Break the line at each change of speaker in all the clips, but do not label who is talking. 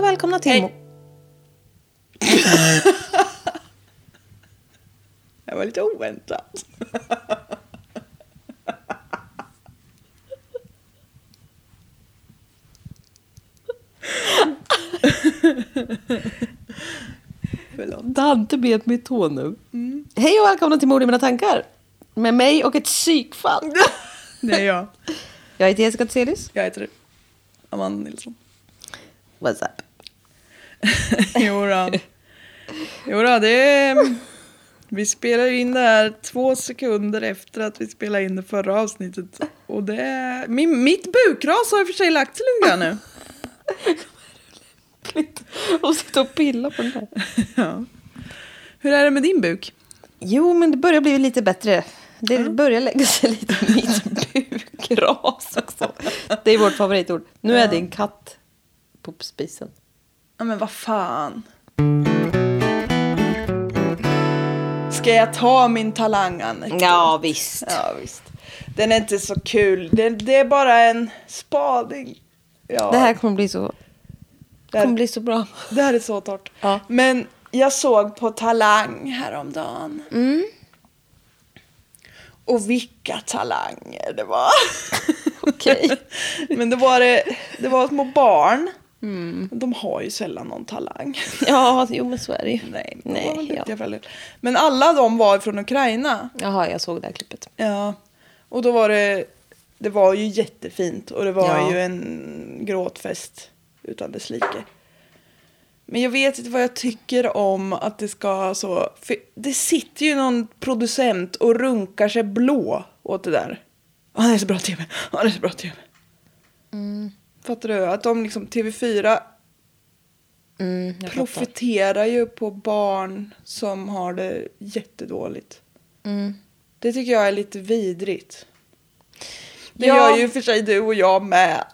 välkomna till...
Hej.
Mo-
Det var lite oväntat. Förlåt.
Dante bet mig i tån nu. Mm. Hej och välkomna till Mord i mina tankar. Med mig och ett psykfall.
Det är jag.
Jag heter Jessica Theselius.
Jag heter Amanda Nilsson.
What's up?
Jodå. Jodå, det är... Vi spelar ju in det här två sekunder efter att vi spelade in det förra avsnittet. Och det är... Min, mitt bukras har i och för sig lagt sig lite grann nu.
Och sitta och pilla på den där.
Ja. Hur är det med din buk?
Jo, men det börjar bli lite bättre. Det börjar lägga sig lite i mitt bukras också. Det är vårt favoritord. Nu är det en katt på spisen.
Ja men vad fan. Ska jag ta min talang Annika?
Ja, visst.
Ja, visst. Den är inte så kul. Det, det är bara en spaning. Ja,
Det här kommer bli så,
det här-
kommer bli så bra.
det här är så torrt.
Ja.
Men jag såg på Talang häromdagen.
Mm.
Och vilka talanger det var.
Okej.
Men det var, det, det var små barn. De har ju sällan någon talang.
Ja, jo men så är det ju.
Nej, de var
Nej
väl duktiga
ja.
föräldrar. Men alla de var från Ukraina.
Jaha, jag såg det här klippet.
Ja. Och då var det, det var ju jättefint och det var
Ja.
ju en gråtfest utan dess like. Men jag vet inte vad jag tycker om att det ska så, för det sitter ju någon producent och runkar sig blå åt det där. Ja, det är så bra tv, ja det är så bra tv. Fattar du? Att de liksom, TV4
Mm, jag fattar.
profiterar ju på barn som har det jättedåligt.
Mm.
Det tycker jag är lite vidrigt. Det
Ja.
gör ju för sig du och jag med.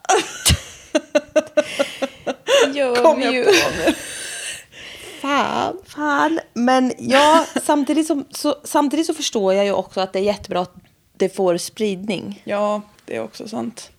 Gör
Kom
vi
jag
ju.
på nu. Fan.
Fan, men ja, samtidigt, som, så, samtidigt så förstår jag ju också att det är jättebra att det får spridning.
Ja, det är också sant.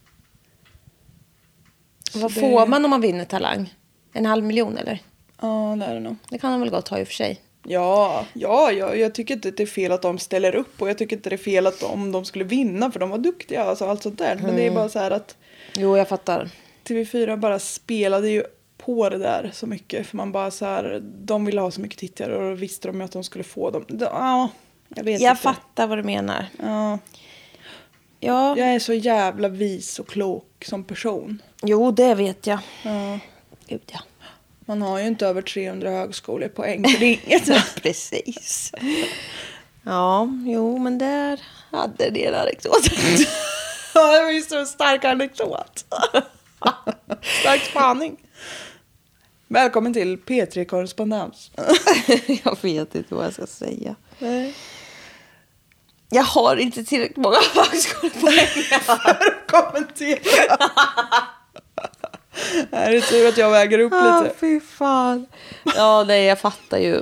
Så
Vad
det-
får man om man vinner Talang? En halv miljon eller?
Ja, det är det nog.
Det kan de väl gott ha i och för sig.
Ja, ja, ja, jag tycker inte att det är fel att de ställer upp och jag tycker inte det är fel att om de skulle vinna för de var duktiga alltså allt sånt där. Men det är bara så här att
Jo, jag fattar.
TV4 bara spelade ju på det där så mycket. För man bara så här, de ville ha så mycket tittare och då visste de ju att de skulle få dem. Ja, jag vet
Jag
inte.
fattar vad du menar.
Ja.
Ja,
Jag är så jävla vis och klok som person.
jo, det vet jag.
Ja.
Gud, ja.
Man har ju inte över 300 högskolepoäng för det är inget.
Precis. Ja, jo, men där hade ni en anekdot.
Ja, det var ju så stark anekdot. Stark spaning. Välkommen till P3 Korrespondens.
jag vet inte vad jag ska säga. Jag har inte tillräckligt många högskolepoäng.
Kommentera. Det är det tur att jag väger upp
Ah,
lite.
fy fan. Ja, nej, jag fattar ju.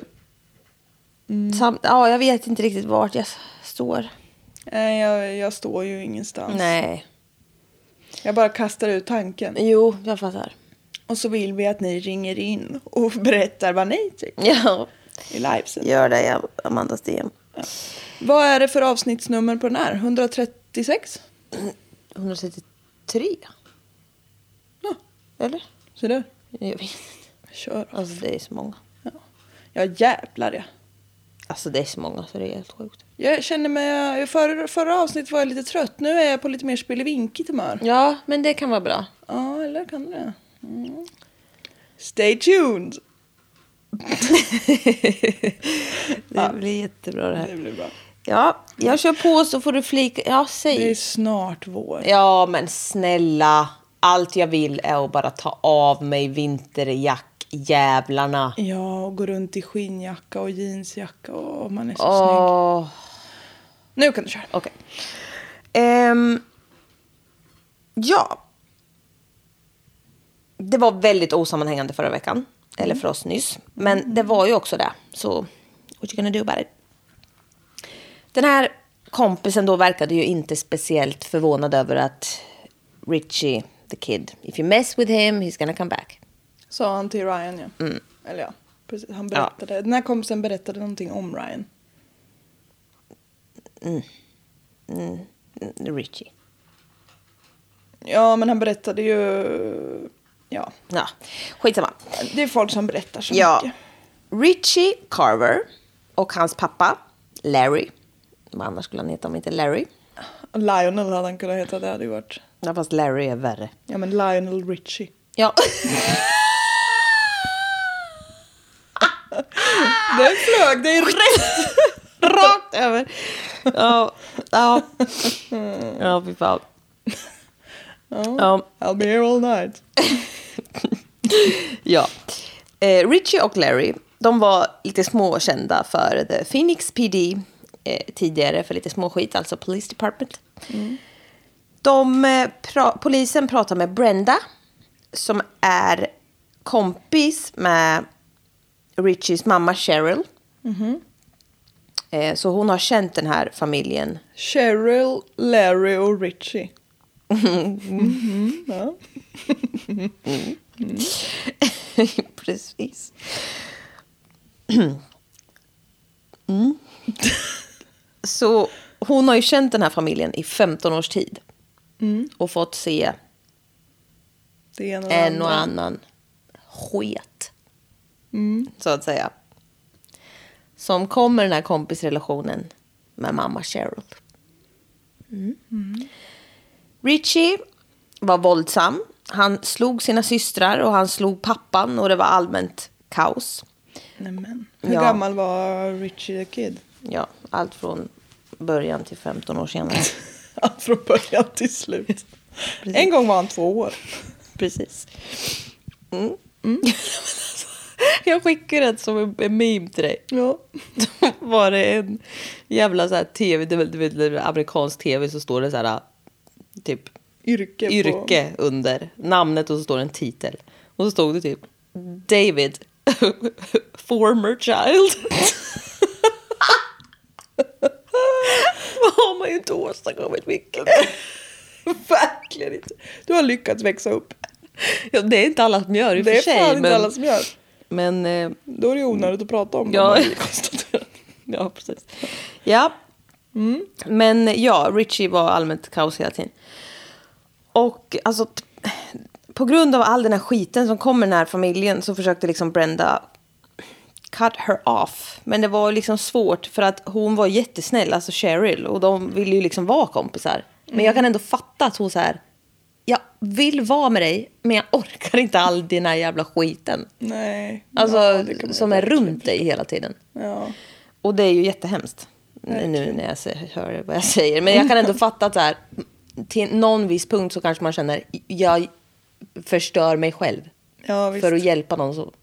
Sam- ja, jag vet inte riktigt vart jag s- står.
Nej, jag, jag står ju ingenstans.
Nej.
Jag bara kastar ut tanken.
Jo, jag fattar.
Och så vill vi att ni ringer in och berättar vad ni tycker
Ja,
i livesändning.
gör det, jag- Amanda Sten.
Vad är det för avsnittsnummer på den här? 136?
133?
Ja.
Eller?
Ser du?
Jag vet inte.
Kör.
Alltså, det är så många.
Ja, ja jävlar ja.
Alltså, det är så många så det är helt sjukt.
Jag känner mig... För, förra avsnittet var jag lite trött. Nu är jag på lite mer spelevinkigt humör.
Ja, men det kan vara bra.
Ja, eller kan det? Mm. Stay tuned!
Det blir jättebra det
Det
här.
blir bra.
Ja, jag kör på så får du flika. Ja,
Det är
säg.
snart vår.
Ja, men snälla. Allt jag vill är att bara ta av mig vinterjackjävlarna.
Ja, och gå runt i skinnjacka och jeansjacka. Åh, man är så snygg.
Åh,
Nu kan du köra.
okej. Ehm, ja. Det var väldigt osammanhängande förra veckan. Eller för oss nyss. Men det var ju också det. Så what you gonna do about it? Den här kompisen då verkade ju inte speciellt förvånad över att Richie, the kid, if you mess with him, he's gonna come back.
Sa han till Ryan ja.
Mm.
Eller ja, precis. Han berättade. Den här kompisen berättade någonting om Ryan.
Mm, Richie.
Ja, men han berättade ju... Ja,
Ja, skitsamma.
det är folk som berättar så
Ja.
mycket.
Richie Carver och hans pappa Larry. Vad annars skulle han heta om inte Larry?
Lionel hade han kunnat heta, det hade ju varit...
Ja, fast Larry är värre.
Ja, men Lionel Richie.
Ja.
Den flög dig rätt!
Rakt över. Ja. Ja, ja fy fan. Ja.
I'll be here all night.
ja. Eh, Richie och Larry, de var lite småkända för The Phoenix PD eh, tidigare för lite småskit, alltså Police Department. De, eh, pra- polisen pratar med Brenda som är kompis med Richies mamma Cheryl. Eh, så hon har känt den här familjen
Cheryl, Larry och Richie.
Precis. Mm. Mm. Så hon har ju känt den här familjen i 15 års tid. Och fått se
Det är en och
en och
andra.
annan sket. Så att säga. Som kommer den här kompisrelationen med mamma Cheryl. Mm. Richie var våldsam. Han slog sina systrar och han slog pappan och det var allmänt kaos.
Nämen. Hur
Ja.
gammal var Richie the Kid?
Ja, allt från början till 15 år senare.
Från början till slut. En gång var han två år.
Precis. Jag skickar det som en- en meme till dig.
Ja.
Då var det en jävla så här tv, du vet, du vet, det är amerikansk tv så står det så här typ
Yrke. På.
yrke under namnet och så står det en titel. Och så stod det typ David, former child. Vad har man ju inte åstadkommit mycket.
Verkligen inte. Du har lyckats växa upp.
Ja, det är inte allas mjör i och
Det
för
är
sig.
fan inte
men-
alla som gör.
Men eh,
Då är det ju onödigt att prata om
Ja.
dem. har vi konstaterat.
ja, precis. Ja. Mm. Men ja, Richie var allmänt kaos hela tiden. Och alltså, t- på grund av all den här skiten som kommer i den här familjen så försökte liksom Brenda cut her off. Men det var liksom svårt för att hon var jättesnäll, alltså Cheryl, och de ville ju liksom vara kompisar. Men jag kan
Mm.
ändå fatta att hon så här, jag vill vara med dig, men jag orkar inte all den här jävla skiten.
Nej.
Alltså,
Ja, det kan man
som
ju
är
verkligen.
runt dig hela tiden.
Ja.
Och det är ju jättehemskt. Nu när jag se- hör vad jag säger. Men jag kan ändå fatta att så här, till någon viss punkt så kanske man känner jag förstör mig själv.
ja, visst.
För att hjälpa någon så.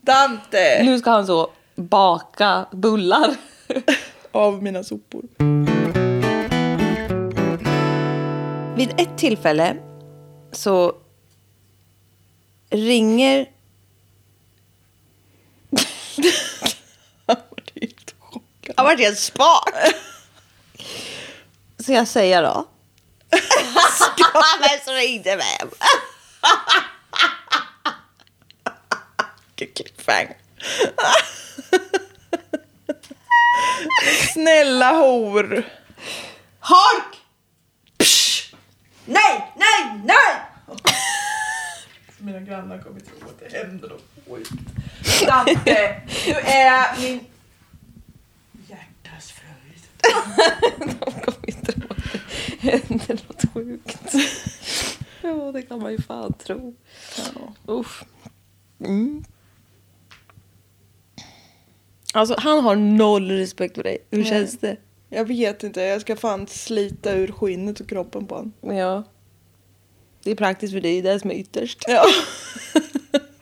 Dante!
Nu ska han så baka bullar.
Av mina sopor.
Vid ett tillfälle så ringer...
Han var helt chockad.
Jag vart helt spak. Så jag säger då. Vem som ringde vem?
Vilken cliffhanger. Snälla hor.
Hark! Nej, nej, nej!
Mina grannar kommer tro att det händer något sjukt.
Dante, du är min...
Hjärtas fröjd.
De kommer inte tro att det händer något sjukt. Ja, det kan man ju fan tro. Uff. Mm. Alltså, han har noll respekt för dig. Hur
Nej.
känns det?
Jag vet inte, jag ska fan slita ur skinnet och kroppen på honom.
Ja. Det är praktiskt för dig, det är det som är ytterst.
Ja.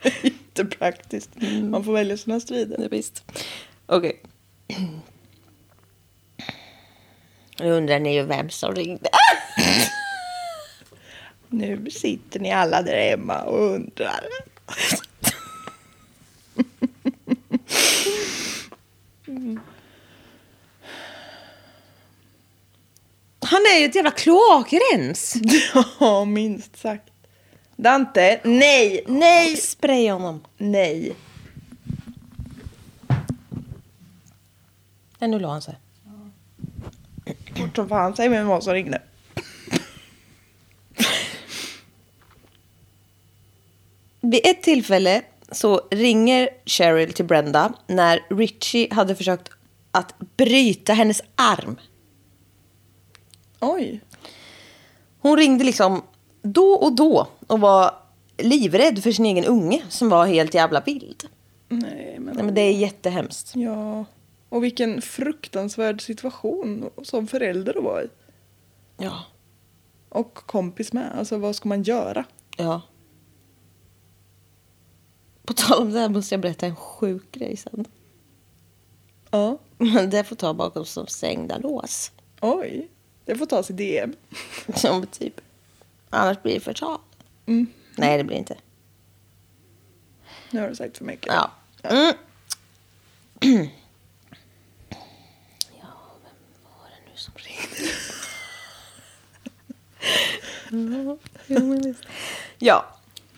Jättepraktiskt.
Mm.
Man får välja sina strider.
Ja, visst. Okej. Nu undrar ni ju vem som ringde.
Nu sitter ni alla där hemma och undrar.
Han är ju ett jävla kloakrens.
Ja, minst sagt. Dante, nej, nej,
Spraya honom.
nej.
Nej, nu la han sig.
Bort som fan, säg vem det var som ringde.
Vid ett tillfälle så ringer Cheryl till Brenda när Richie hade försökt att bryta hennes arm.
Oj.
Hon ringde liksom då och då och var livrädd för sin egen unge som var helt jävla vild.
Nej, men...
Nej, men det är jättehemskt.
Ja. Och vilken fruktansvärd situation som förälder att vara i.
Ja.
Och kompis med. Alltså vad ska man göra?
Ja. På tal om det här måste jag berätta en sjuk grej sen.
Ja.
Men det får ta bakom som stängda lås.
Oj. Det får tas i DM.
Som typ. Annars blir det förtal.
Mm.
Nej, det blir inte.
Nu har du sagt för mycket.
Ja. Mm. Ja, vem var det nu som ringde? ja,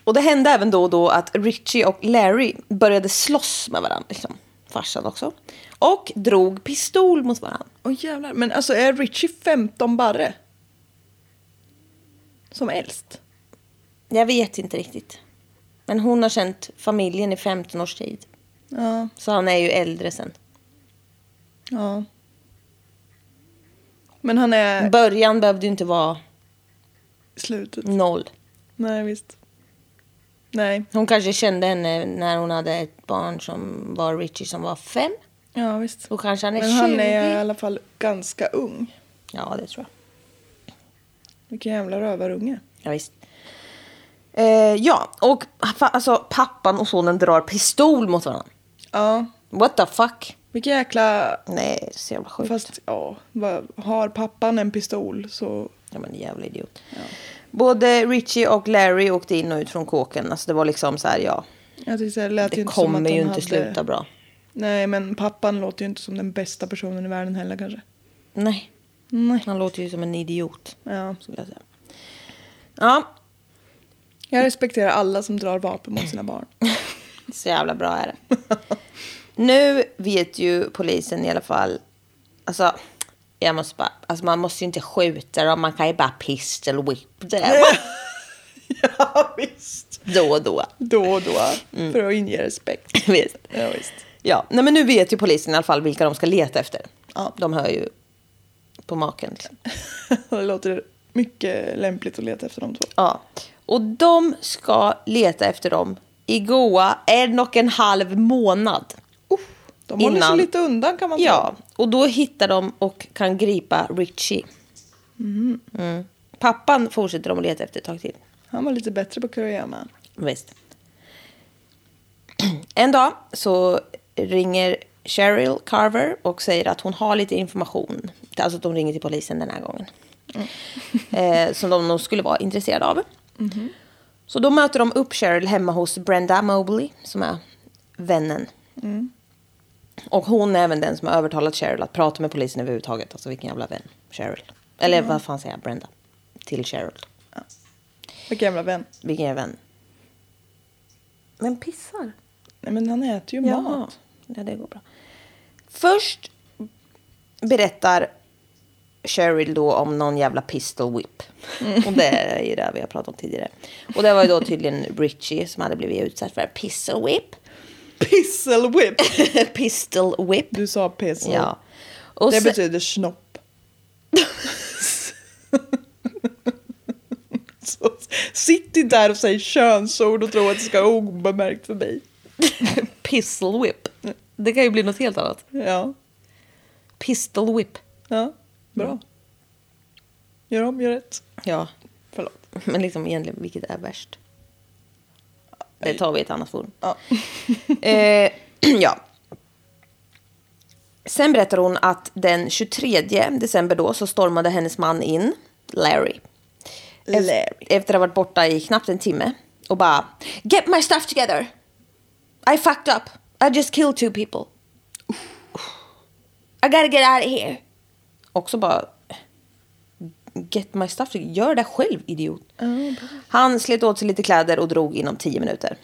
och det hände även då och då att Richie och Larry började slåss med varandra, liksom. farsan också, och drog pistol mot varandra.
Åh jävlar. Men alltså är Richie 15 barre? Som äldst?
Jag vet inte riktigt. Men hon har känt familjen i 15 års tid,
Ja.
så han är ju äldre sen.
Ja. Men han är
Början behövde ju inte vara
slutet.
noll.
Nej, visst. Nej.
Hon kanske kände henne när hon hade ett barn som var Richie som var fem.
Ja, visst.
Då kanske han är
Men
20.
han är i alla fall ganska ung.
Ja, det tror jag.
Vilken jävla rövarunge.
Ja, visst. Eh, ja, och fa- alltså, pappan och sonen drar pistol mot varandra.
Ja.
What the fuck?
Vilken jäkla...
Nej, det är så jävla sjukt.
Fast ja, vad- har pappan en pistol så...
Ja, men jävla idiot. Både Richie och Larry åkte in och ut från kåken. Alltså, det var liksom så här, ja.
Jag tyckte det lät ju
Det
inte som att
kommer
de
ju inte
hade...
sluta bra.
Nej, men pappan låter ju inte som den bästa personen i världen heller kanske.
Nej,
Nej.
han låter ju som en idiot.
Ja.
Skulle jag säga. Ja,
Jag respekterar alla som drar vapen mot sina barn.
Så jävla bra är det. nu vet ju polisen i alla fall. Alltså, jag måste bara, alltså man måste ju inte skjuta dem. Man kan ju bara pistol whip dem
ja, visst.
då och då.
Då och då, för att inge respekt.
Visst.
Ja, visst.
Ja, nej men nu vet ju polisen i alla fall vilka de ska leta efter.
Ja.
De hör ju på maken. Liksom.
det låter mycket lämpligt att leta efter de två.
Ja. Och de ska leta efter dem i goa en och en halv månad.
De håller
Innan-
sig lite undan kan man tro.
Ja, och då hittar de och kan gripa Richie. Mm. Pappan fortsätter de att leta efter ett tag till.
Han var lite bättre på kurragömma.
Visst. En dag så ringer Cheryl Carver och säger att hon har lite information. Alltså att de ringer till polisen den här gången. Eh, som de nog skulle vara intresserade av. Så då möter de upp Cheryl hemma hos Brenda Mobley som är vännen. Och hon är även den som har övertalat Cheryl att prata med polisen överhuvudtaget. Alltså vilken jävla vän Cheryl. Eller vad fan säger jag, Brenda? Till Cheryl.
Vilken jävla vän.
Vilken jävla vän? Men pissar?
Nej, men han äter ju mat.
Ja, det går bra. Först berättar Cheryl då om någon jävla pistol whip. Och det är ju det vi har pratat om tidigare. Och det var ju då tydligen Richie som hade blivit utsatt för pistol whip.
Pissel whip.
pistol whip.
Du sa pissel.
Ja. Och
Det
sen-
betyder snopp. Så, sitt inte där och säg könsord och tro att det ska gå obemärkt förbi.
typ pistol whip. Det kan ju bli något helt annat.
Ja,
Pistol whip.
ja, bra. Gör om, gör rätt.
Ja.
Förlåt.
Men liksom egentligen, vilket är värst? Det tar vi i ett annat forum.
Ja.
Eh, ja. Sen berättar hon att den 23 december då så stormade hennes man in, Larry. Ef-
Larry.
Efter att ha varit borta i knappt en timme och bara Get my stuff together! I fucked up! I just killed two people! I gotta get out of here! Också bara get my stuff together. Gör det själv, idiot. Han slet åt sig lite kläder och drog inom tio minuter.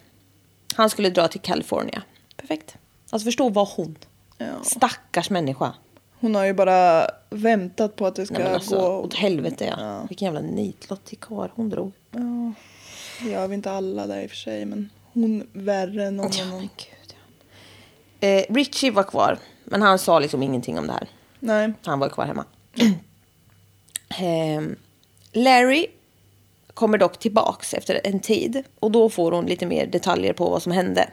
Han skulle dra till California. Perfekt. Alltså förstå vad hon.
Ja.
Stackars människa.
Hon har ju bara väntat på att det ska
Nej, men alltså,
gå...
åt helvete ja.
Ja.
Vilken jävla nitlott till karl hon drog.
Ja, det gör vi inte alla där i och för sig, men hon värre än någon
Ja, men
annan.
gud. Ja. Eh, Richie var kvar, men han sa liksom ingenting om det här.
Nej.
Han var kvar hemma. Ehm, Larry kommer dock tillbaks efter en tid och då får hon lite mer detaljer på vad som hände.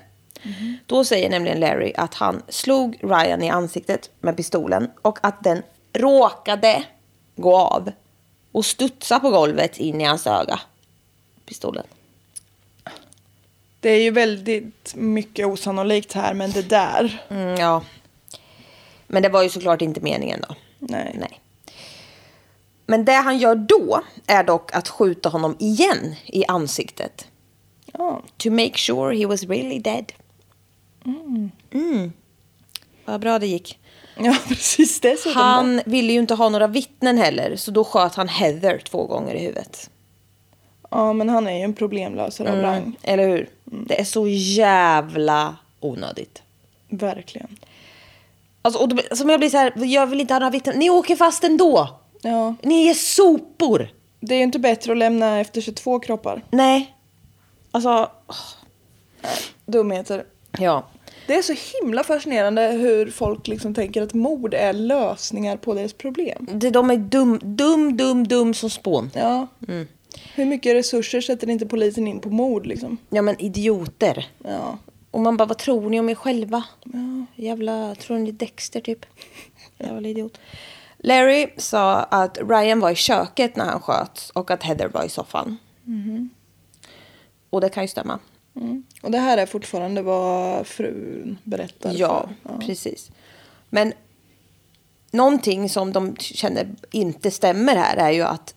Då säger nämligen Larry att han slog Ryan i ansiktet med pistolen och att den råkade gå av och studsa på golvet in i hans öga. Pistolen.
Det är ju väldigt mycket osannolikt här, men det där.
Mm, ja. Men det var ju såklart inte meningen då.
Nej.
Nej. Men det han gör då är dock att skjuta honom igen i ansiktet.
Ja.
To make sure he was really dead. Mm.
Mm.
Vad bra det gick.
ja, precis dessutom.
Han ville ju inte ha några vittnen heller, så då sköt han Heather två gånger i huvudet.
Ja, men han är ju en problemlösare
Mm.
av rang.
Eller hur?
Mm.
Det är så jävla onödigt.
Verkligen.
Alltså, och då, blir- som jag blir så här, jag vill inte ha några vittnen. Ni åker fast ändå!
Ja,
Ni är sopor!
det är ju inte bättre att lämna efter sig två kroppar.
Nej. Alltså,
Dumheter.
ja.
Det är så himla fascinerande hur folk liksom tänker att mord är lösningar på deras problem.
Det- De är dum, dum, dum, dum som spån.
Ja.
Mm.
Hur mycket resurser sätter inte polisen in på mord liksom?
Ja, men idioter.
Ja.
Och man bara, vad tror ni om er själva? Jävla, tror ni Dexter typ? Jävla idiot. Larry sa att Ryan var i köket när han sköts och att Heather var i soffan. Och det kan ju stämma.
Mm. Och det här är fortfarande vad frun berättar
Ja,
för. Ja.
precis. Men någonting som de känner inte stämmer här är ju att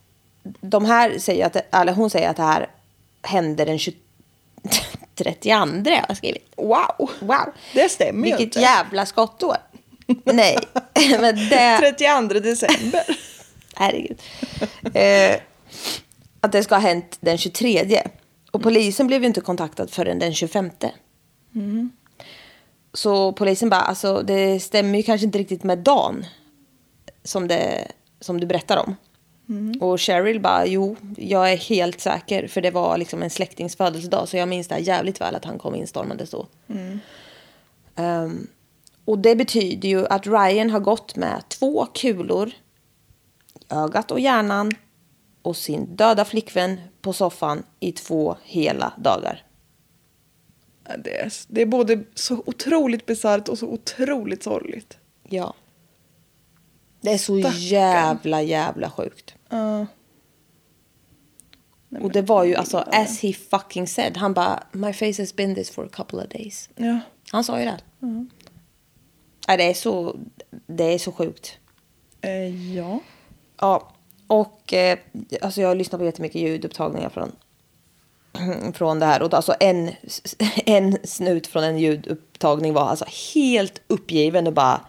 de här säger att, eller hon säger att det här hände den 20, 32 har jag skrivit. Wow! wow.
Oh, Det stämmer ju
Vilket
inte.
jävla skottår. Nej, men det...
32 december.
Herregud. Eh, att det ska ha hänt den 23. Och polisen blev ju inte kontaktad förrän den 25. Så polisen bara, alltså det stämmer ju kanske inte riktigt med dagen som, det, som du berättar om. Och Cheryl bara, jo, jag är helt säker för det var liksom en släktings födelsedag så jag minns det här jävligt väl att han kom instormandes då. Ehm, och det betyder ju att Ryan har gått med två kulor i ögat och hjärnan och sin döda flickvän på soffan i två hela dagar.
Ja, Det är, det är både så otroligt bisarrt och så otroligt sorgligt.
Ja. Det är så
Stackarn.
jävla, jävla sjukt.
Ja. Nej,
Och
men-
det var ju alltså as he fucking said. Han bara my face has been this for a couple of days.
Ja.
Han sa ju det. Ja, det är så, det är så sjukt.
Eh, ja.
Ja, och eh, alltså jag har lyssnat på jättemycket ljudupptagningar från, från det här. Och alltså en, en snut från en ljudupptagning var alltså helt uppgiven och bara...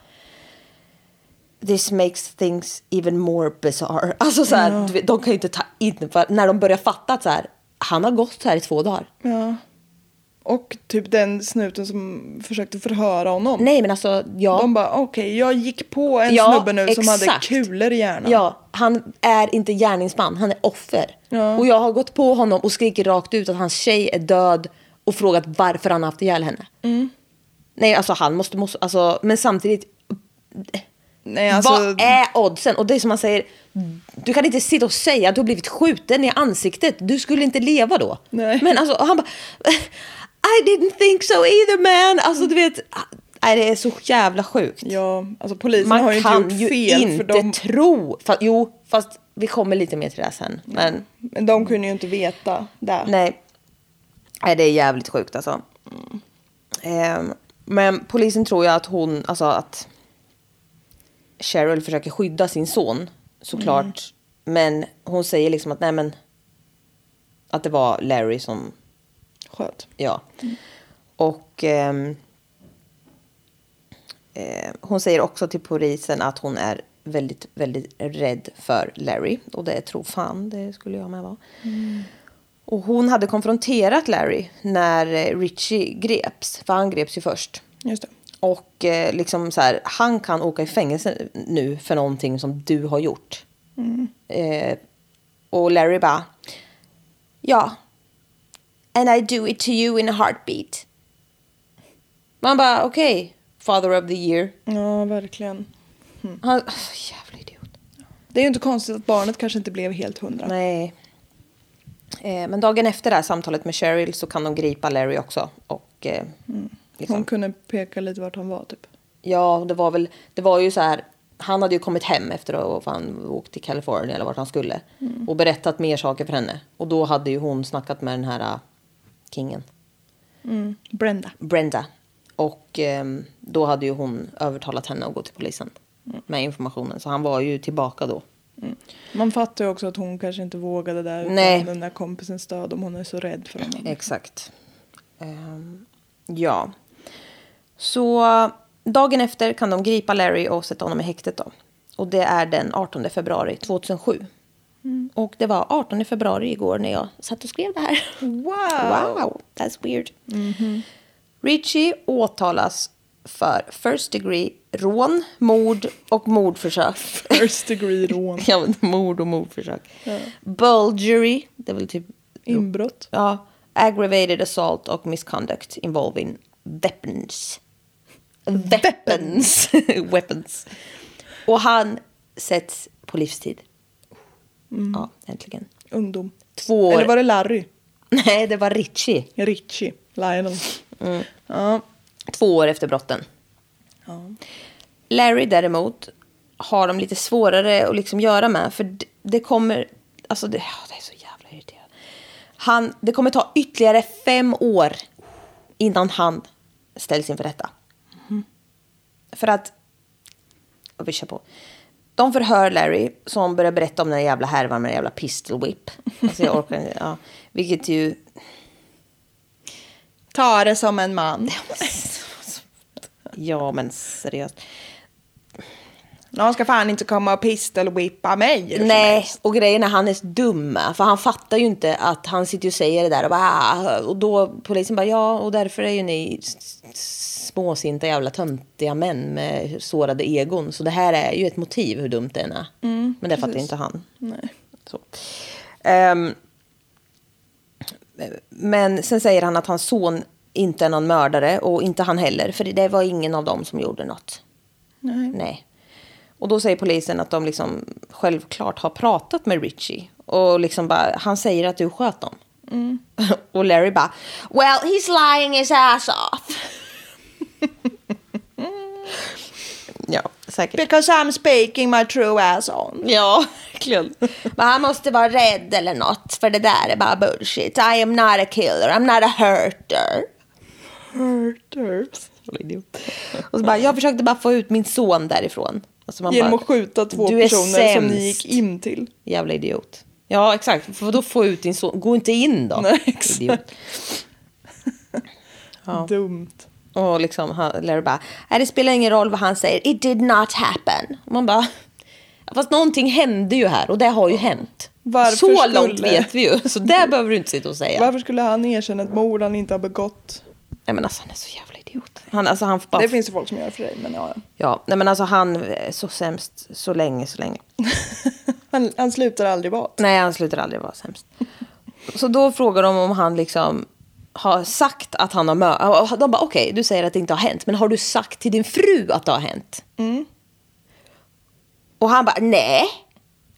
This makes things even more bizarre. Alltså så här, du vet, de kan ju inte ta in... för När de börjar fatta att så här, han har gått här i två dagar.
ja. Och typ den snuten som försökte förhöra honom.
Nej, men alltså ja.
De bara okej, jag gick på en
Ja,
snubbe nu som hade
exakt.
kulor i hjärnan.
Ja, han är inte gärningsman, han är offer.
Ja.
Och jag har gått på honom och skriker rakt ut att hans tjej är död och frågat varför han har haft ihjäl henne.
Mm.
Nej, alltså han måste, måste alltså, men samtidigt,
Nej, alltså,
vad är oddsen? Och det är som man säger, du kan inte sitta och säga att du har blivit skjuten i ansiktet, du skulle inte leva då.
Nej.
Men alltså, och han bara, I didn't think so either man. Alltså du vet, nej, det är så jävla sjukt.
Ja, alltså polisen
Man
har ju inte
kan
gjort
ju
fel
inte
för de,
tro. Fa- jo, fast vi kommer lite mer till det här sen. Men
men de kunde ju inte veta det.
nej. nej, det är jävligt sjukt alltså. Ehm, men polisen tror ju att hon, alltså att Cheryl försöker skydda sin son
Mm.
såklart. Men hon säger liksom att nej men att det var Larry som
Sköt.
Ja. Och ehm, eh, hon säger också till polisen att hon är väldigt, väldigt rädd för Larry. Och det tror fan, det skulle jag med vara. Och hon hade konfronterat Larry när eh, Richie greps. För han greps ju först.
Just det.
Och eh, liksom så här, han kan åka i fängelse nu för någonting som du har gjort. Eh, och Larry bara, ja. And I do it to you in a heartbeat. Man bara, okej, father of the year.
Ja, verkligen.
Han, oh, jävla idiot.
Det är ju inte konstigt att barnet kanske inte blev helt hundra.
Nej. Eh, men dagen efter det här samtalet med Cheryl så kan de gripa Larry också. Och, eh, liksom,
Hon kunde peka lite vart han var typ.
Ja, det var väl, det var ju så här. Han hade ju kommit hem efter att han åkt till Kalifornien eller vart han skulle. Och berättat mer saker för henne. Och då hade ju hon snackat med den här äh, kingen,
Mm. Brenda.
Brenda. Och ehm, då hade ju hon övertalat henne att gå till polisen. Med informationen. Så han var ju tillbaka då.
Man fattar ju också att hon kanske inte vågade där utan
Nej.
den där kompisens stöd om hon är så rädd för honom.
Exakt. Ehm, ja. Så dagen efter kan de gripa Larry och sätta honom i häktet. Då. Och det är den 18 februari 2007. Och det var 18 februari igår när jag satt och skrev det här.
Wow.
Wow, that's weird. Richie åtalas för first degree rån, mord och mordförsök.
First degree rån.
ja, men mord och mordförsök. Bulgery, det är väl typ
Inbrott.
Ja, aggravated assault och misconduct involving weapons. Weapons. weapons. Och han sätts på livstid. Ja, äntligen.
Ungdom.
Två år.
Eller var det Larry?
Nej, det var Richie.
Richie. Lionel.
Mm.
Ja.
Två år efter brotten.
ja.
Larry däremot har de lite svårare att liksom göra med. För d- det kommer... Alltså det, ja, det är så jävla irriterande. Han, det kommer ta ytterligare fem år innan han ställs inför rätta. För att... Och vi kör på. De förhör Larry som börjar berätta om den här jävla härvan med den jävla pistol whip. Alltså jag orkar inte. Ja, vilket ju...
Ta det som en man.
Ja, men seriöst.
Någon ska fan inte komma och pistolwhippa mig.
Nej, och grejen är han är så dum. För han fattar ju inte att han sitter och säger det där. Och, bara, "Ah", och då polisen bara ja, och därför är ju ni s- s- småsinta jävla töntiga män med sårade egon. Så det här är ju ett motiv hur dumt det än är. Men det fattar ju inte han.
Mm, Nej.
Så. Ehm, men sen säger han att hans son inte är någon mördare och inte han heller. För det var ingen av dem som gjorde något.
Nej.
Nej. Och då säger polisen att de liksom självklart har pratat med Richie. Och liksom bara, han säger att du sköt dem. och Larry bara, well he's lying his ass off. ja, säkert.
Because I'm speaking my true ass on.
Ja, verkligen. Men han måste vara rädd eller något, för det där är bara bullshit. I am not a killer, I'm not a hurter.
Hurters.
Och så bara, jag försökte bara få ut min son därifrån. Alltså man
Genom
bara,
att skjuta två
"Du är
personer som ni
sämst."
gick in till.
Jävla idiot. Ja, exakt. För då få ut din son? Gå inte in då.
Nej, exakt.
Idiot.
Dumt.
Och liksom, han- Larry bara, "Nej, det spelar ingen roll vad han säger. It did not happen. Och man bara, fast någonting hände ju här och det har ju hänt.
Varför
så
skulle-
långt vet vi ju. Så där behöver du inte sitta och säga.
Varför skulle han erkänna ett mord han inte har begått?
Nej men alltså han är så jävla idiot. Han, alltså, han får bara...
Det finns ju folk som gör för dig, men ja.
Ja, nej men alltså han är så sämst så länge, så länge.
Han, han slutar aldrig vara.
Nej, han slutar aldrig vara sämst. Så då frågar de om han liksom har sagt att han har mördat. De bara, okej, du säger att det inte har hänt, men har du sagt till din fru att det har hänt? Och han bara, nej.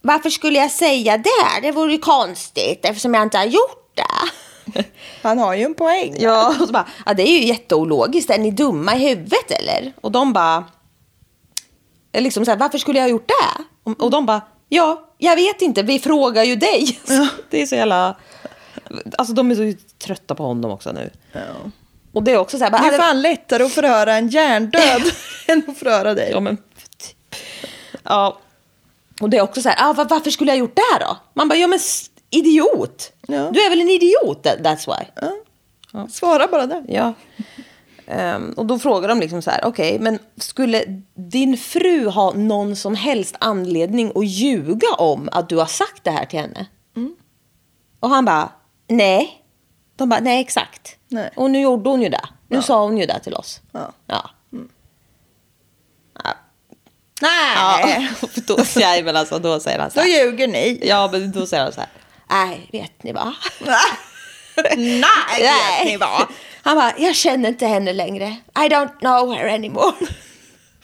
Varför skulle jag säga det? Det vore ju konstigt eftersom jag inte har gjort det.
Han har ju en poäng.
Ja, och så bara, ja, det är ju jätteologiskt. Är ni dumma i huvudet eller? Och de bara, eller liksom så här, varför skulle jag ha gjort det? Och, och de bara, ja, jag vet inte, vi frågar ju dig. Det är så jävla, alltså de är så trötta på honom också nu.
Ja.
Och det är också så här, bara,
Det är
"Ja,
fan lättare att förhöra en hjärndöd än att förhöra dig.
Ja, men typ. Ja. Och det är också så här, ah, va- varför skulle jag ha gjort det här då? Man bara, ja men s- idiot.
Ja.
Du är väl en idiot, that- that's why.
Svara bara där.
Ja. Ehm, och då frågar de liksom så här, okej, men skulle din fru ha någon som helst anledning att ljuga om att du har sagt det här till henne?
Mm.
Och han bara, nej. De bara, nej exakt.
Nej.
Och nu gjorde hon ju det. Nu sa hon ju det till oss.
Ja. Mm.
Ja. Ja. Nej. Ja. Då, säger, men alltså, då säger han så
Då
här.
ljuger ni.
Ja, men då säger han så här. Nej, vet ni vad?
Nej, vet ni vad?
Han bara, jag känner inte henne längre. I don't know her anymore.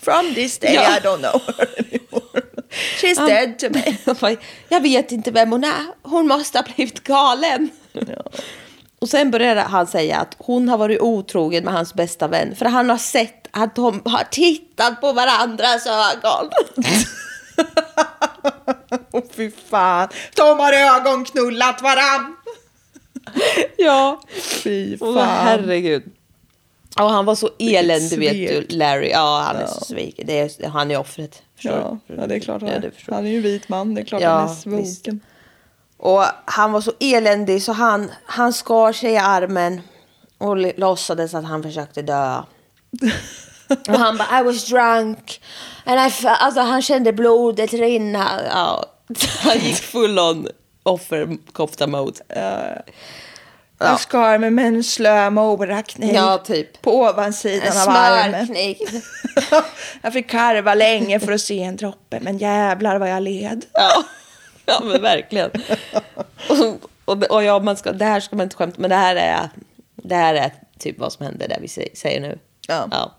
From this day
Ja.
I don't know her anymore. She's
Han-
dead to me.
Han bara, jag vet inte vem hon är. Hon måste ha blivit galen. Och sen började han säga att hon har varit otrogen med hans bästa vän. För han har sett att de har tittat på varandras ögon.
Åh fy fan. De har ögonknullat varann.
ja.
Fy
Åh, herregud. Och han var så eländig, vet du,
svek.
Larry. Ja, han är
Ja.
så sviken. Det är, han är offret. Förstår
Ja,
du?
ja, det är klart. Han,
Ja,
är.
du förstår.
han är ju en vit man. Det är klart
Ja,
han är svuken.
Och han var så eländig så han, han skar sig i armen och l- låtsades att han försökte dö. Och han bara I was drunk. And I fe- alltså han kände blodet rinna. Ja, han gick full on offerkofta mode.
Jag skar mig med en slö morakniv.
Ja, typ.
På ovansidan av armen.
Smörkniv.
jag fick karva länge för att se en droppe, men jävlar vad jag led.
Ja, ja men verkligen. Och, och, och ja, man ska, det här ska man inte skämta men det här är, det här är typ vad som hände där vi sä- säger nu.
Ja.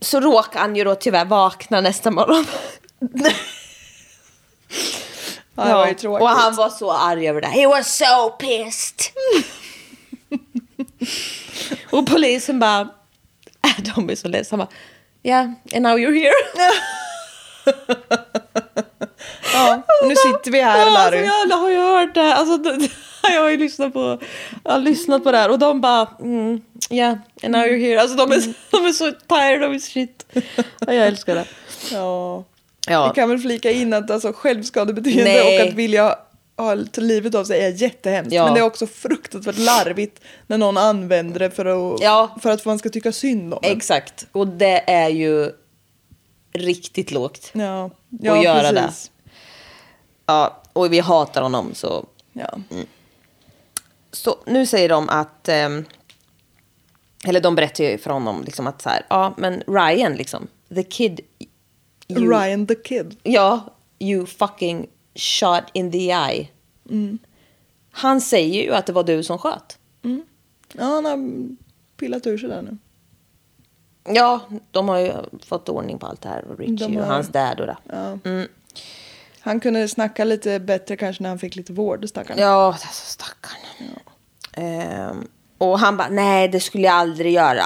Så råkar han ju då tyvärr vakna nästa morgon.
Ja, det var ju tråkigt.
och han var så arg över det. He was so pissed. och polisen bara, äh, de är så ledsna. Han bara, Yeah, and now you're here.
Ja, och nu sitter vi här,
Ja,
Larry.
Alltså, jag har ju hört det här. Alltså, det- jag har ju lyssnat på, jag har lyssnat på det här och de bara mm, yeah, and now you're here. Alltså de är, de är så tired of his shit. Ja, jag älskar det.
Ja.
Ja.
Vi kan väl flika in att alltså, självskadebeteende
Nej.
och att vilja ha lite livet av sig är jättehemskt.
Ja.
Men det är också fruktansvärt larvigt när någon använder det för att,
Ja.
för att man ska tycka synd om en.
Exakt, och det är ju riktigt lågt.
Ja, ja
Och göra
precis.
Ja, och vi hatar honom så.
Ja.
så nu säger de att, ehm, eller de berättar ju för honom liksom att så här, ja men Ryan liksom, the kid you
Ryan the Kid.
Ja, you fucking shot in the eye.
Mm.
Han säger ju att det var du som sköt.
Ja, han har pillat ur sig där nu.
Ja, de har ju fått ordning på allt det här. Och Richie
De har-
och hans dad och det.
Ja.
Mm.
Han kunde snacka lite bättre kanske när han fick lite vård, stackarn.
Ja, alltså stackarn. Ehm, och han bara, nej det skulle jag aldrig göra.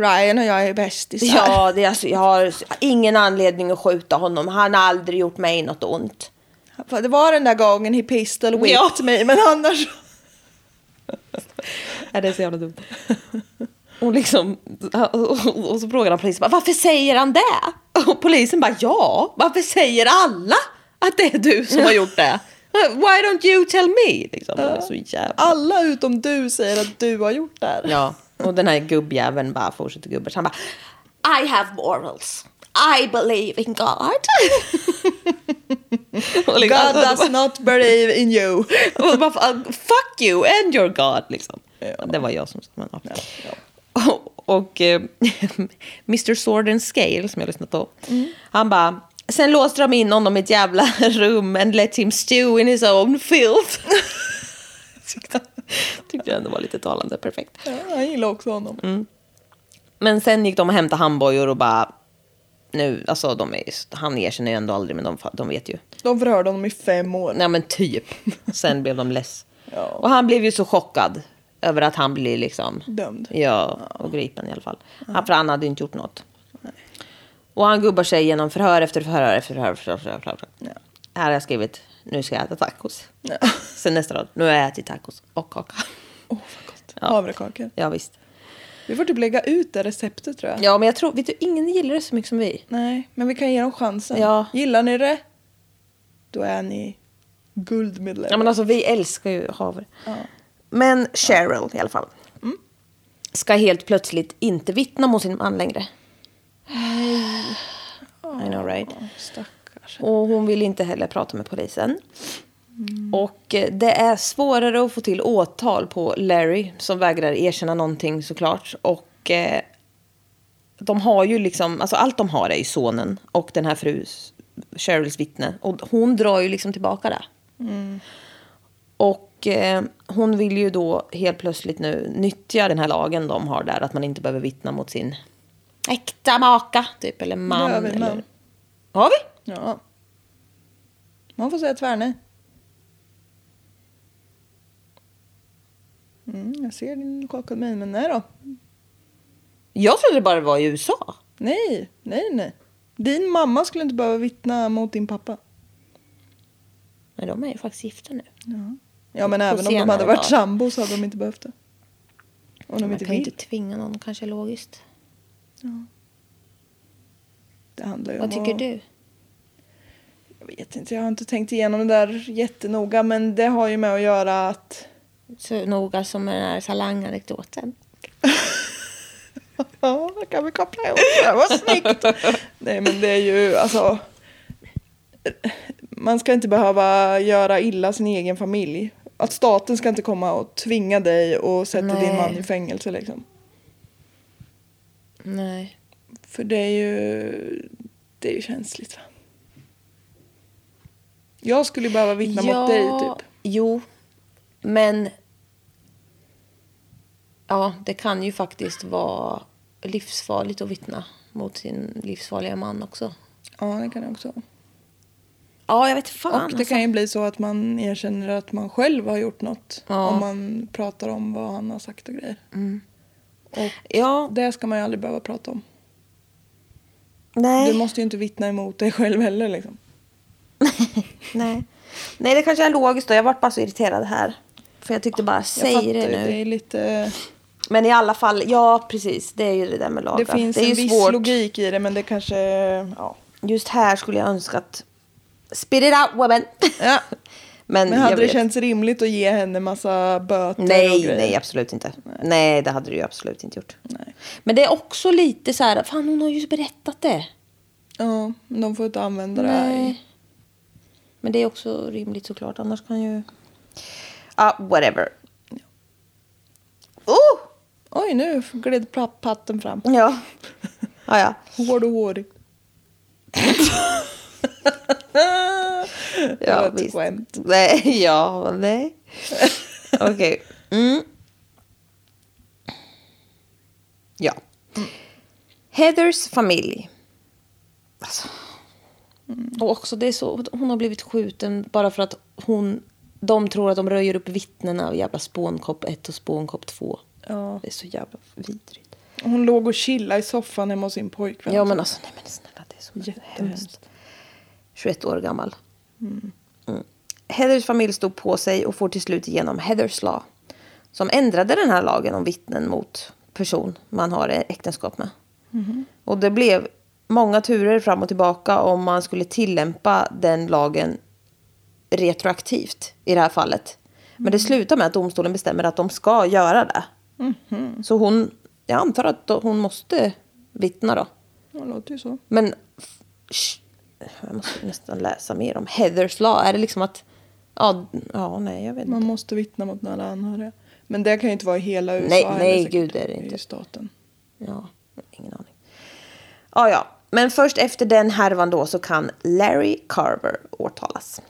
Ryan och jag är bästisar.
Ja, det, är alltså, jag har ingen anledning att skjuta honom. Han har aldrig gjort mig något ont.
Det var den där gången he pistol whipped
Ja.
mig, men annars...
Ja, det är så jävla dumt. Och, liksom, och, och så frågar han polisen, bara, varför säger han det? Och polisen bara, ja, varför säger alla att det är du som har gjort det? Why don't you tell me? Liksom, det är så jävla...
Alla utom du säger att du har gjort det här.
Ja, och den här gubbjäveln bara fortsätter gubbers. Han bara,
I have morals. I believe in God.
och liksom,
God does not believe in you.
och bara, "Ah, fuck you and your God, liksom.
Ja.
Det var jag som sa men, ja.
ja.
Och, och eh, Mr Sword and Scale, som jag lyssnat på,
Mm.
han bara... Sen låste de in honom i ett jävla rum and let him stew in his own filth. tyckte, tyckte jag ändå var lite talande, perfekt.
Ja, han gillar också honom.
Mm. Men sen gick de och hämtade handbojor och bara... Nu, alltså de är, han erkänner ju ändå aldrig, men de, fa- de vet ju.
De förhörde honom i fem år.
Nej men typ. Sen blev de less.
Ja.
Och han blev ju så chockad över att han blir liksom...
Dömd.
Ja, och gripen i alla fall. Han, för han hade ju inte gjort något. Och han gubbar sig genom förhör efter förhör efter förhör. Efter förhör, efter förhör.
Ja.
Här har jag skrivit, nu ska jag äta tacos.
Ja.
Sen nästa rad, nu har jag ätit tacos och kaka.
Åh, vad gott.
Ja.
Havrekakor.
Ja, visst.
Vi får typ lägga ut det receptet tror jag.
Ja, men jag tror, vet du, ingen gillar det så mycket som vi.
Nej, men vi kan ge dem chansen.
Ja.
Gillar ni det, då är ni guldmedlemmar.
Ja, men alltså vi älskar ju havre.
Ja.
Men Cheryl i alla fall. ska helt plötsligt inte vittna mot sin man längre. I know right.
Stackars.
Och hon vill inte heller prata med polisen.
Mm.
Och eh, det är svårare att få till åtal på Larry som vägrar erkänna någonting såklart. Och eh, de har ju liksom, alltså allt de har är ju sonen och den här frus, Cheryls vittne. Och hon drar ju liksom tillbaka det.
Mm.
Och eh, hon vill ju då helt plötsligt nu nyttja den här lagen de har där. Att man inte behöver vittna mot sin äkta maka typ. Eller man.
har vi man.
eller... Har vi?
Ja. Man får säga tvärnej. Mm, jag ser din kakad min, men nej då.
Jag trodde det bara var i USA.
Nej, nej, nej. Din mamma skulle inte behöva vittna mot din pappa.
Men de är ju faktiskt gifta nu.
Ja, men
På
även om de
senare
hade varit
dagar.
sambo så hade de inte behövt det. Om de
Man
inte
kan ju
vill.
inte tvinga någon, kanske logiskt.
Det handlar ju
Vad
om
tycker
att-
du?
Jag vet inte, jag har inte tänkt igenom det där jättenoga, men det har ju med att göra att
Så noga som med den här salanganekdoten.
Ja, det kan vi koppla ihop det. Vad snyggt! Nej, men det är ju alltså... Man ska inte behöva göra illa sin egen familj. Att staten ska inte komma och tvinga dig och sätta
Nej.
din man i fängelse liksom.
Nej.
För det är ju... Det är ju känsligt va? Jag skulle ju behöva vittna mot dig typ.
Jo, men... Ja, det kan ju faktiskt vara livsfarligt att vittna mot sin livsfarliga man också.
Ja, det kan jag också.
Ja, jag vet
Och
fan. alltså.
det kan ju bli så att man erkänner att man själv har gjort något.
Ja. Mm.
Om man pratar om vad han har sagt och grejer. Och
Ja,
Det ska man ju aldrig behöva prata om.
nej.
Du måste ju inte vittna emot dig själv heller. Liksom.
nej. Nej, det kanske är logiskt då. Jag vart bara så irriterad här. För jag tyckte bara,
Jag
säg
fattar
det
ju,
nu.
Det är lite...
Men i alla fall, ja precis. Det är ju det där med lagar.
Det finns
är
en
ju
viss
svårt.
logik i det, men det kanske... Ja.
Just här skulle jag önska att... Spit it out women!
Ja.
Men,
Men
jag
hade det
vet.
känts rimligt att ge henne massa böter och
Nej,
grejer?
nej absolut inte. Nej. det hade du ju absolut inte gjort.
Nej.
Men det är också lite så här, fan hon har ju berättat det.
Ja, men de får inte använda det här. i-
Nej. Men det är också rimligt såklart, annars kan ju... Ja, whatever. Oh!
Oj, nu gled pla- patten fram.
Ja. ja, ja.
Hård och hårig. Det var
Ja,
ett
visst.
skämt.
Nej, ja, nej. Okej. Mm. Ja. Heathers familj. Alltså. Mm. Och också det är så, hon har blivit skjuten bara för att hon, de tror att de röjer upp vittnena av jävla spånkopp 1 och spånkopp 2.
Ja.
Det är så jävla vidrigt.
Hon låg och chillade i soffan hemma hos sin pojkvän.
Ja men alltså, nej men snälla det är så
Jättehemskt.
hemskt. 21 år gammal. Mm. Heathers familj stod på sig och får till slut igenom Heathers Law. Som ändrade den här lagen om vittnen mot person man har äktenskap med. Och det blev många turer fram och tillbaka om man skulle tillämpa den lagen retroaktivt i det här fallet. Men det slutar med att domstolen bestämmer att de ska göra det. Så hon, jag antar att då- hon måste vittna då.
Det låter ju så.
Men... sh- Jag måste nästan läsa mer om Heathers Law. Är det liksom att... Ja, ja nej, jag vet inte.
Man måste vittna mot nära anhöriga. Men det kan ju inte vara i hela USA
Nej,
heller
nej,
säkert.
gud, det är det
ju
inte.
staten.
Ja, ingen aning. Ja, ja. Men först efter den härvan då så kan Larry Carver åtalas.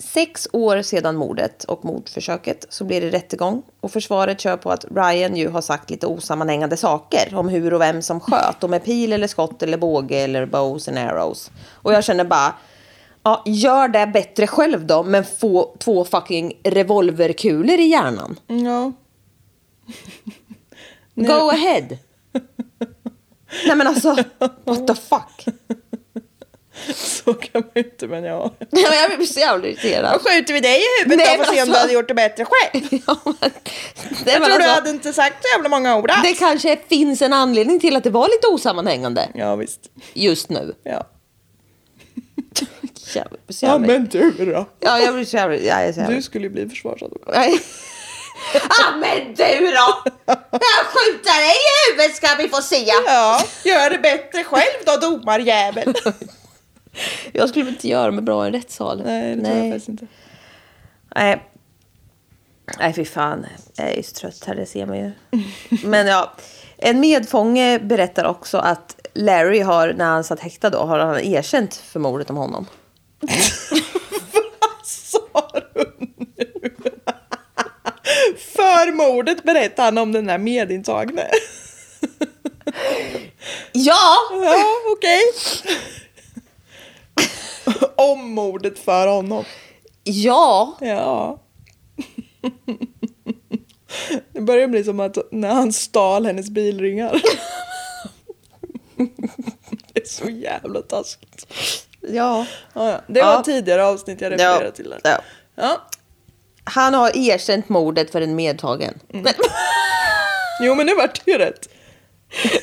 Sex år sedan mordet och mordförsöket så blir det rättegång och försvaret kör på att Ryan ju har sagt lite osammanhängande saker om hur och vem som sköt och med pil eller skott eller båge eller bows and arrows. Och jag känner bara, ja, gör det bättre själv då men få två fucking revolverkulor i hjärnan.
Ja.
Go ahead. Nej men alltså, what the fuck.
Så kan man ju inte, men ja.
Jag blir så jävla irriterad.
skjuter vi dig i
huvudet då för att se om du hade
gjort det bättre själv.
Ja, men, alltså. det, men alltså,
inte sagt så jävla många ord.
det kanske finns en anledning till att det var lite osammanhängande
Ja, visst.
just nu.
Ja.
Jag blir så
ja,
jävla,
men du då?
ja, jag blir så jävla... Jag är så jävla
Du skulle ju bli försvarsadvokat.
Nej.
ah, men du då! Jag skjuter dig i huvudet ska vi få se.
Ja, gör det bättre själv då domarjävel.
Jag skulle väl inte göra mig bra i en rättssal.
Nej, det tror jag faktiskt inte.
Nej. Nej, fy fan. Jag är ju så trött här, det ser man ju. Men ja, en medfånge berättar också att Larry har, när han satt häktad då, har han erkänt för mordet om honom.
Vad sa du nu? För mordet berättar han om den här medintagne.
Ja,
Ja, okej. Om mordet för honom.
Ja!
Ja. Det börjar bli som att när han stal hennes bilringar. Det är så jävla taskigt.
Ja.
Ja, ja. Det var
Ja.
tidigare avsnitt jag refererade till. Där.
ja.
Ja.
Han har erkänt mordet för en medtagen. Men,
Jo, men nu vart det ju rätt.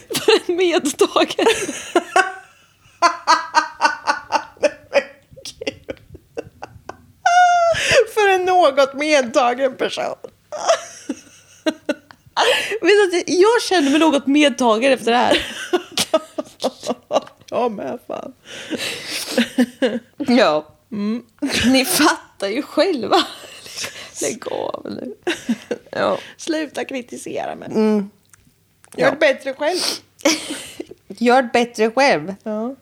för en medtagen?
För en något medtagen person.
Vet du att alltså, jag känner mig något medtagen efter det här.
Ja, men fan.
Ja. Mm. Ni fattar ju själva. Lägg av nu. Ja. Mm,
Sluta kritisera mig. Gör det bättre själv.
Gör det bättre själv.
Ja.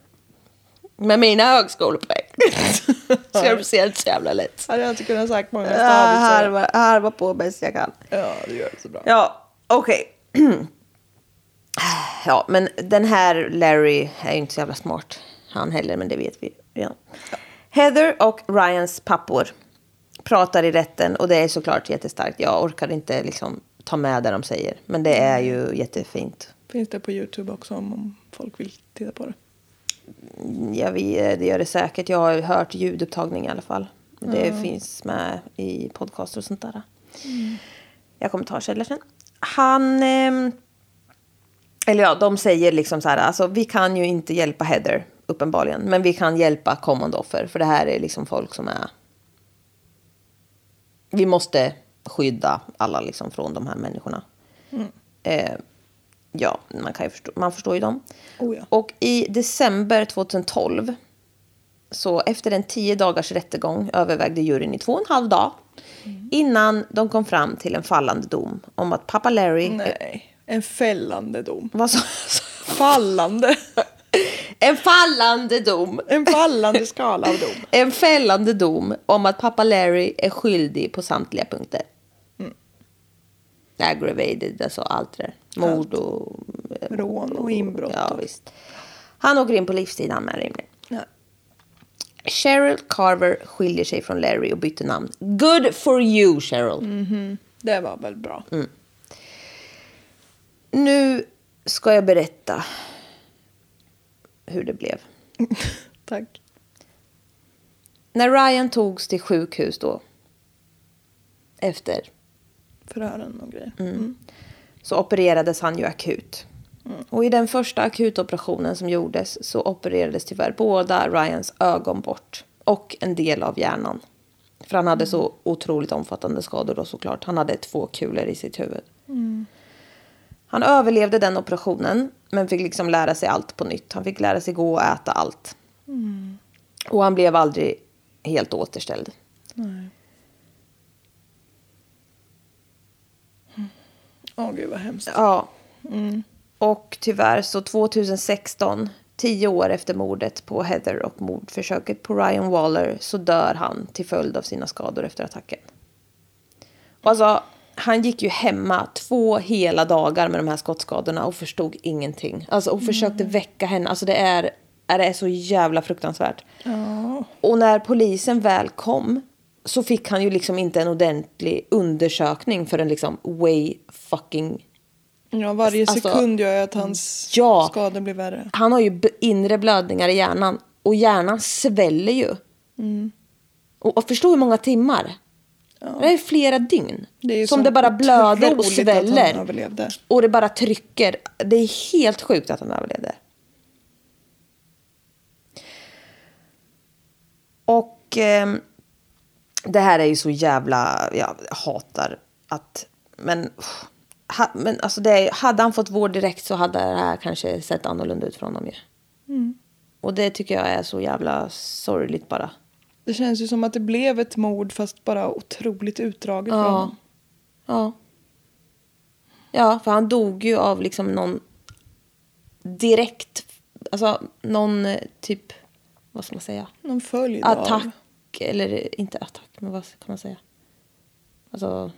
Med mina högskolepoäng. Så jag ser inte så jävla lätt.
Hade jag inte kunnat sagt många
Jag
stavelser.
harvar, harvar på bäst jag kan.
Ja, du gör det så bra.
Ja, okej. ja, men den här Larry är ju inte så jävla smart. Han heller, men det vet vi redan. Heather och Ryans pappor pratar i rätten och det är såklart jättestarkt. Jag orkar inte liksom ta med det de säger, men det är ju jättefint.
Finns det på Youtube också om, om folk vill titta på det.
Ja, vi, eh, det gör det säkert. Jag har hört ljudupptagning i alla fall. Det
Mm.
finns med i podcaster och sånt där. Jag kommer ta källor sen. Han... ehm, eller ja, de säger liksom så här, alltså vi kan ju inte hjälpa Heather, uppenbarligen. Men vi kan hjälpa kommande offer, för det här är liksom folk som är... Vi måste skydda alla liksom från de här människorna.
Mm.
Eh, ja, man, kan ju förstå, man förstår ju dem.
Oh ja.
Och i december 2012, så efter en tio dagars rättegång övervägde juryn i två och en halv dag innan de kom fram till en fallande dom om att pappa Larry...
Nej, en fällande dom.
Vad sa-
Fallande.
En fallande dom.
En fallande skala av dom.
En fällande dom om att pappa Larry är skyldig på samtliga punkter.
Mm.
Aggravated, alltså allt det där. Mord och...
Rån och inbrott.
Ja,
och-
visst. Han åker in på livstid, han med rimligen.
Ja.
Cheryl Carver skiljer sig från Larry och byter namn. Good for you, Cheryl.
Det var väl bra.
Mm. Nu ska jag berätta hur det blev.
Tack.
När Ryan togs till sjukhus då, efter
Förhören och
Mm.
grejer. Mm.
så opererades han ju akut. Och i den första akutoperationen som gjordes så opererades tyvärr båda Ryans ögon bort och en del av hjärnan. För han hade så otroligt omfattande skador då såklart. Han hade två kulor i sitt huvud. Han överlevde den operationen men fick liksom lära sig allt på nytt. Han fick lära sig gå och äta allt. Och han blev aldrig helt återställd.
Åh gud vad hemskt.
Ja. Mm. Och tyvärr så 2016, tio år efter mordet på Heather och mordförsöket på Ryan Waller, så dör han till följd av sina skador efter attacken. Och alltså, han gick ju hemma två hela dagar med de här skottskadorna och förstod ingenting. Alltså, och försökte
Mm.
väcka henne. Alltså det är, är det är så jävla fruktansvärt.
Ja.
Och när polisen väl kom så fick han ju liksom inte en ordentlig undersökning förrän liksom way fucking
ja, varje
Alltså-
sekund gör ju att hans
Ja.
skador blir värre.
han har ju b- inre blödningar i hjärnan och hjärnan sväller ju.
Mm.
Och, och förstå hur många timmar. Det är flera dygn.
Det är ju
som
så
det bara blöder och
otroligt att han
sväller.
överlevde.
Och det bara trycker. Det är helt sjukt att han överlevde. Och ehm, det här är ju så jävla... Jag hatar att Men, pff, ha, men alltså det, är- hade han fått vård direkt så hade det här kanske sett annorlunda ut för honom ju. Och det tycker jag är så jävla sorgligt bara.
Det känns ju som att det blev ett mord fast bara otroligt utdraget för
Ja.
honom.
ja. Ja, för han dog ju av liksom någon direkt, alltså någon eh, typ, vad ska man säga?
Någon följd
attack.
av...
Eller inte attack, men vad kan man säga? Alltså...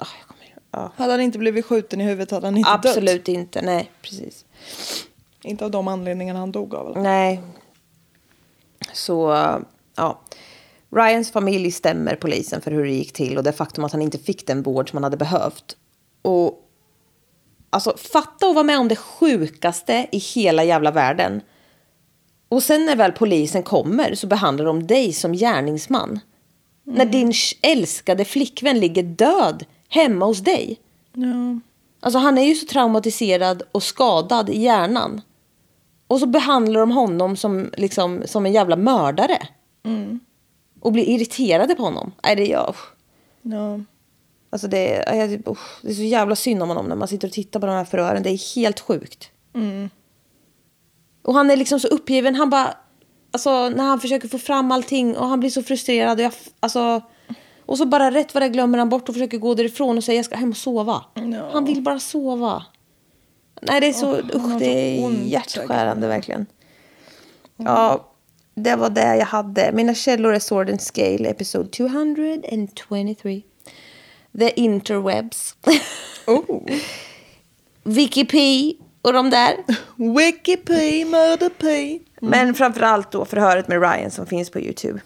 Ah, jag kommer ju- ja.
Hade han inte blivit skjuten i huvudet hade han inte dött.
Absolut inte, nej precis.
Inte av de anledningarna han dog av. eller?
Nej. Så, ja. Ryans familj stämmer polisen för hur det gick till och det faktum att han inte fick den vård som han hade behövt. Och alltså fatta och vara med om det sjukaste i hela jävla världen. Och sen när väl polisen kommer så behandlar de dig som gärningsman. När din sh- älskade flickvän ligger död hemma hos dig.
Ja.
Alltså han är ju så traumatiserad och skadad i hjärnan. Och så behandlar de honom som, liksom, som en jävla mördare.
Mm.
Och blir irriterade på honom. Nej, det, är jag, usch.
ja.
alltså det, är- jag, typ, usch. det är så jävla synd om honom när man sitter och tittar på de här förhören. Det är helt sjukt.
Mm.
Och han är liksom så uppgiven. Han bara... Alltså när han försöker få fram allting och han blir så frustrerad. Och, jag, f- alltså, och så bara rätt vad det är glömmer han bort och försöker gå därifrån och säga jag ska hem och sova.
Ja.
Han vill bara sova. Nej det är så,
han har
usch, det
så
är
ont Mm.
hjärtskärande verkligen. Ja, det var det jag hade. Mina källor är Sword and Scale, episod 223. The Interwebs.
Oh.
Wikipedia och de där.
Wikipedia, Murderpedia.
Men framförallt då förhöret med Ryan som finns på YouTube.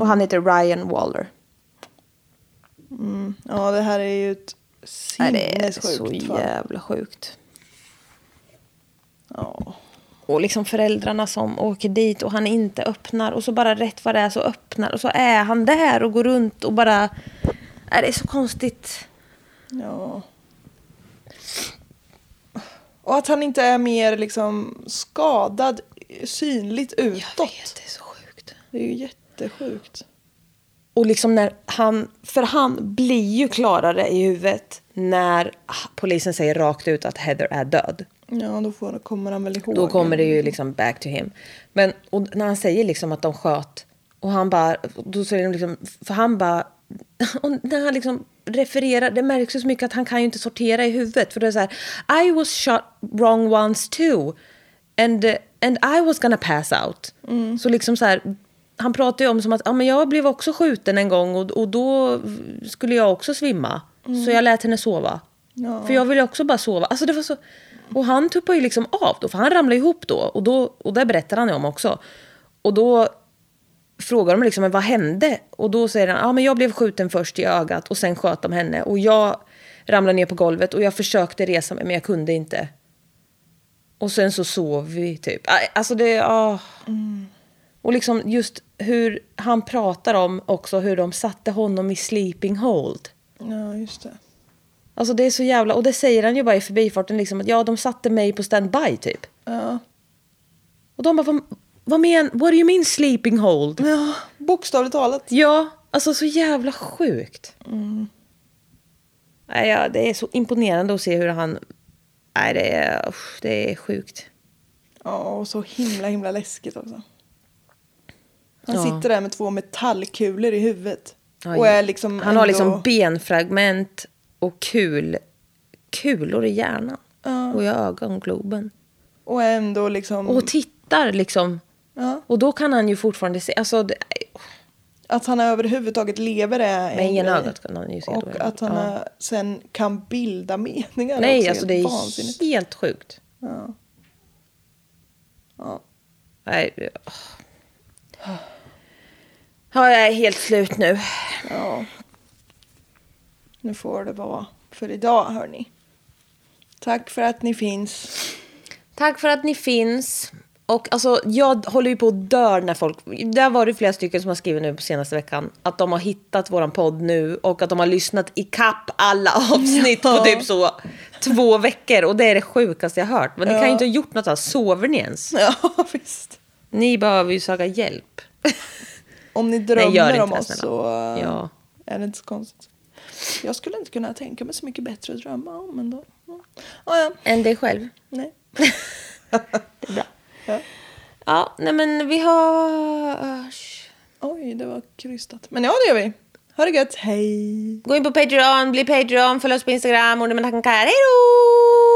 Och han heter Ryan Waller.
Mm. Ja, det här är ju ett
Nej, det är så
sinnessjukt fall.
jävla sjukt.
Ja.
Och liksom föräldrarna som åker dit och han inte öppnar. Och så bara rätt vad det är så öppnar. Och så är han där och går runt och bara... Nej, det är så konstigt.
ja. Och att han inte är mer liksom skadad synligt utåt.
det är så sjukt.
Det är ju jättesjukt.
Och liksom när han... För han blir ju klarare i huvudet när polisen säger rakt ut att Heather är död.
Ja, då får, kommer han väl ihåg.
Då kommer det ju liksom back to him. Men och när han säger liksom att de sköt och han bara, då säger de liksom, för han bara, och när han liksom refererar, det märks ju så mycket att han kan ju inte sortera i huvudet för det är så här, I was shot wrong once too and, eh, and I was gonna pass out. Så liksom så här, han pratar ju om som att, ja men jag blev också skjuten en gång och, och då skulle jag också svimma. Så jag lät henne sova.
Ja.
För jag ville också bara sova. Alltså det var så... Och han tuppade ju liksom av då, för han ramlade ihop då. Och, då, och det berättar han ju om också. Och då frågar de liksom, men vad hände? Och då säger han, ja men jag blev skjuten först i ögat och sen sköt de henne. Och jag ramlade ner på golvet och jag försökte resa mig men jag kunde inte. Och sen så sov vi typ. Aj, Alltså det, ah. Och liksom just hur han pratar om också hur de satte honom i sleeping hold.
Ja, just det.
Alltså det är så jävla, och det säger han ju bara i förbifarten liksom att ja de satte mig på standby typ.
Ja.
Och de bara vad, vad men, what do you mean sleeping hold?
ja, bokstavligt talat.
Ja, alltså så jävla sjukt. Nej, ja, det är så imponerande att se hur han, nej det är, usch, det är sjukt.
Ja, och så himla himla läskigt också. Han
Ja.
sitter där med två metallkulor i huvudet.
Ja,
och är liksom
han har
ändå-
liksom benfragment och kul, kulor i hjärnan.
Ja.
Och i ögongloben.
Och är ändå liksom...
Och tittar liksom.
Ja.
Och då kan han ju fortfarande se, alltså det,
Att han överhuvudtaget lever är
Med ena
grej.
ögat kan han ju se då,
Och
eller?
att han
Ja.
är- sen kan bilda meningar
Nej,
också,
alltså
helt
det är
vansinnigt.
helt sjukt.
Ja. Ja.
Nej. det- Ja, jag är helt slut nu.
ja. Nu får det vara för idag hörni. Tack för att ni finns.
Tack för att ni finns. Och alltså, jag håller ju på och dör när folk... Där var det flera stycken som har skrivit nu på senaste veckan att de har hittat våran podd nu och att de har lyssnat i kapp alla avsnitt på
Ja.
typ så två veckor. Och det är det sjukaste jag hört. Men ni kan
Ja.
ju inte ha gjort något annat. Sover ni ens?
Ja, visst.
Ni behöver ju söka hjälp.
Om ni
Nej, gör
drömmer
inte
om
det,
oss
snälla.
så eh,
Ja.
är det inte så konstigt. Jag skulle inte kunna tänka mig så mycket bättre att drömma om ändå. Ja, ah, ja.
Än dig själv.
Nej.
Det är bra.
Ja.
Ja, nej men vi hörs.
Oj, det var krystat. Men ja, det gör vi. Ha det gött. Hej!
Gå in på Patreon, bli Patreon, följ oss på Instagram, under med tankar. Hej då!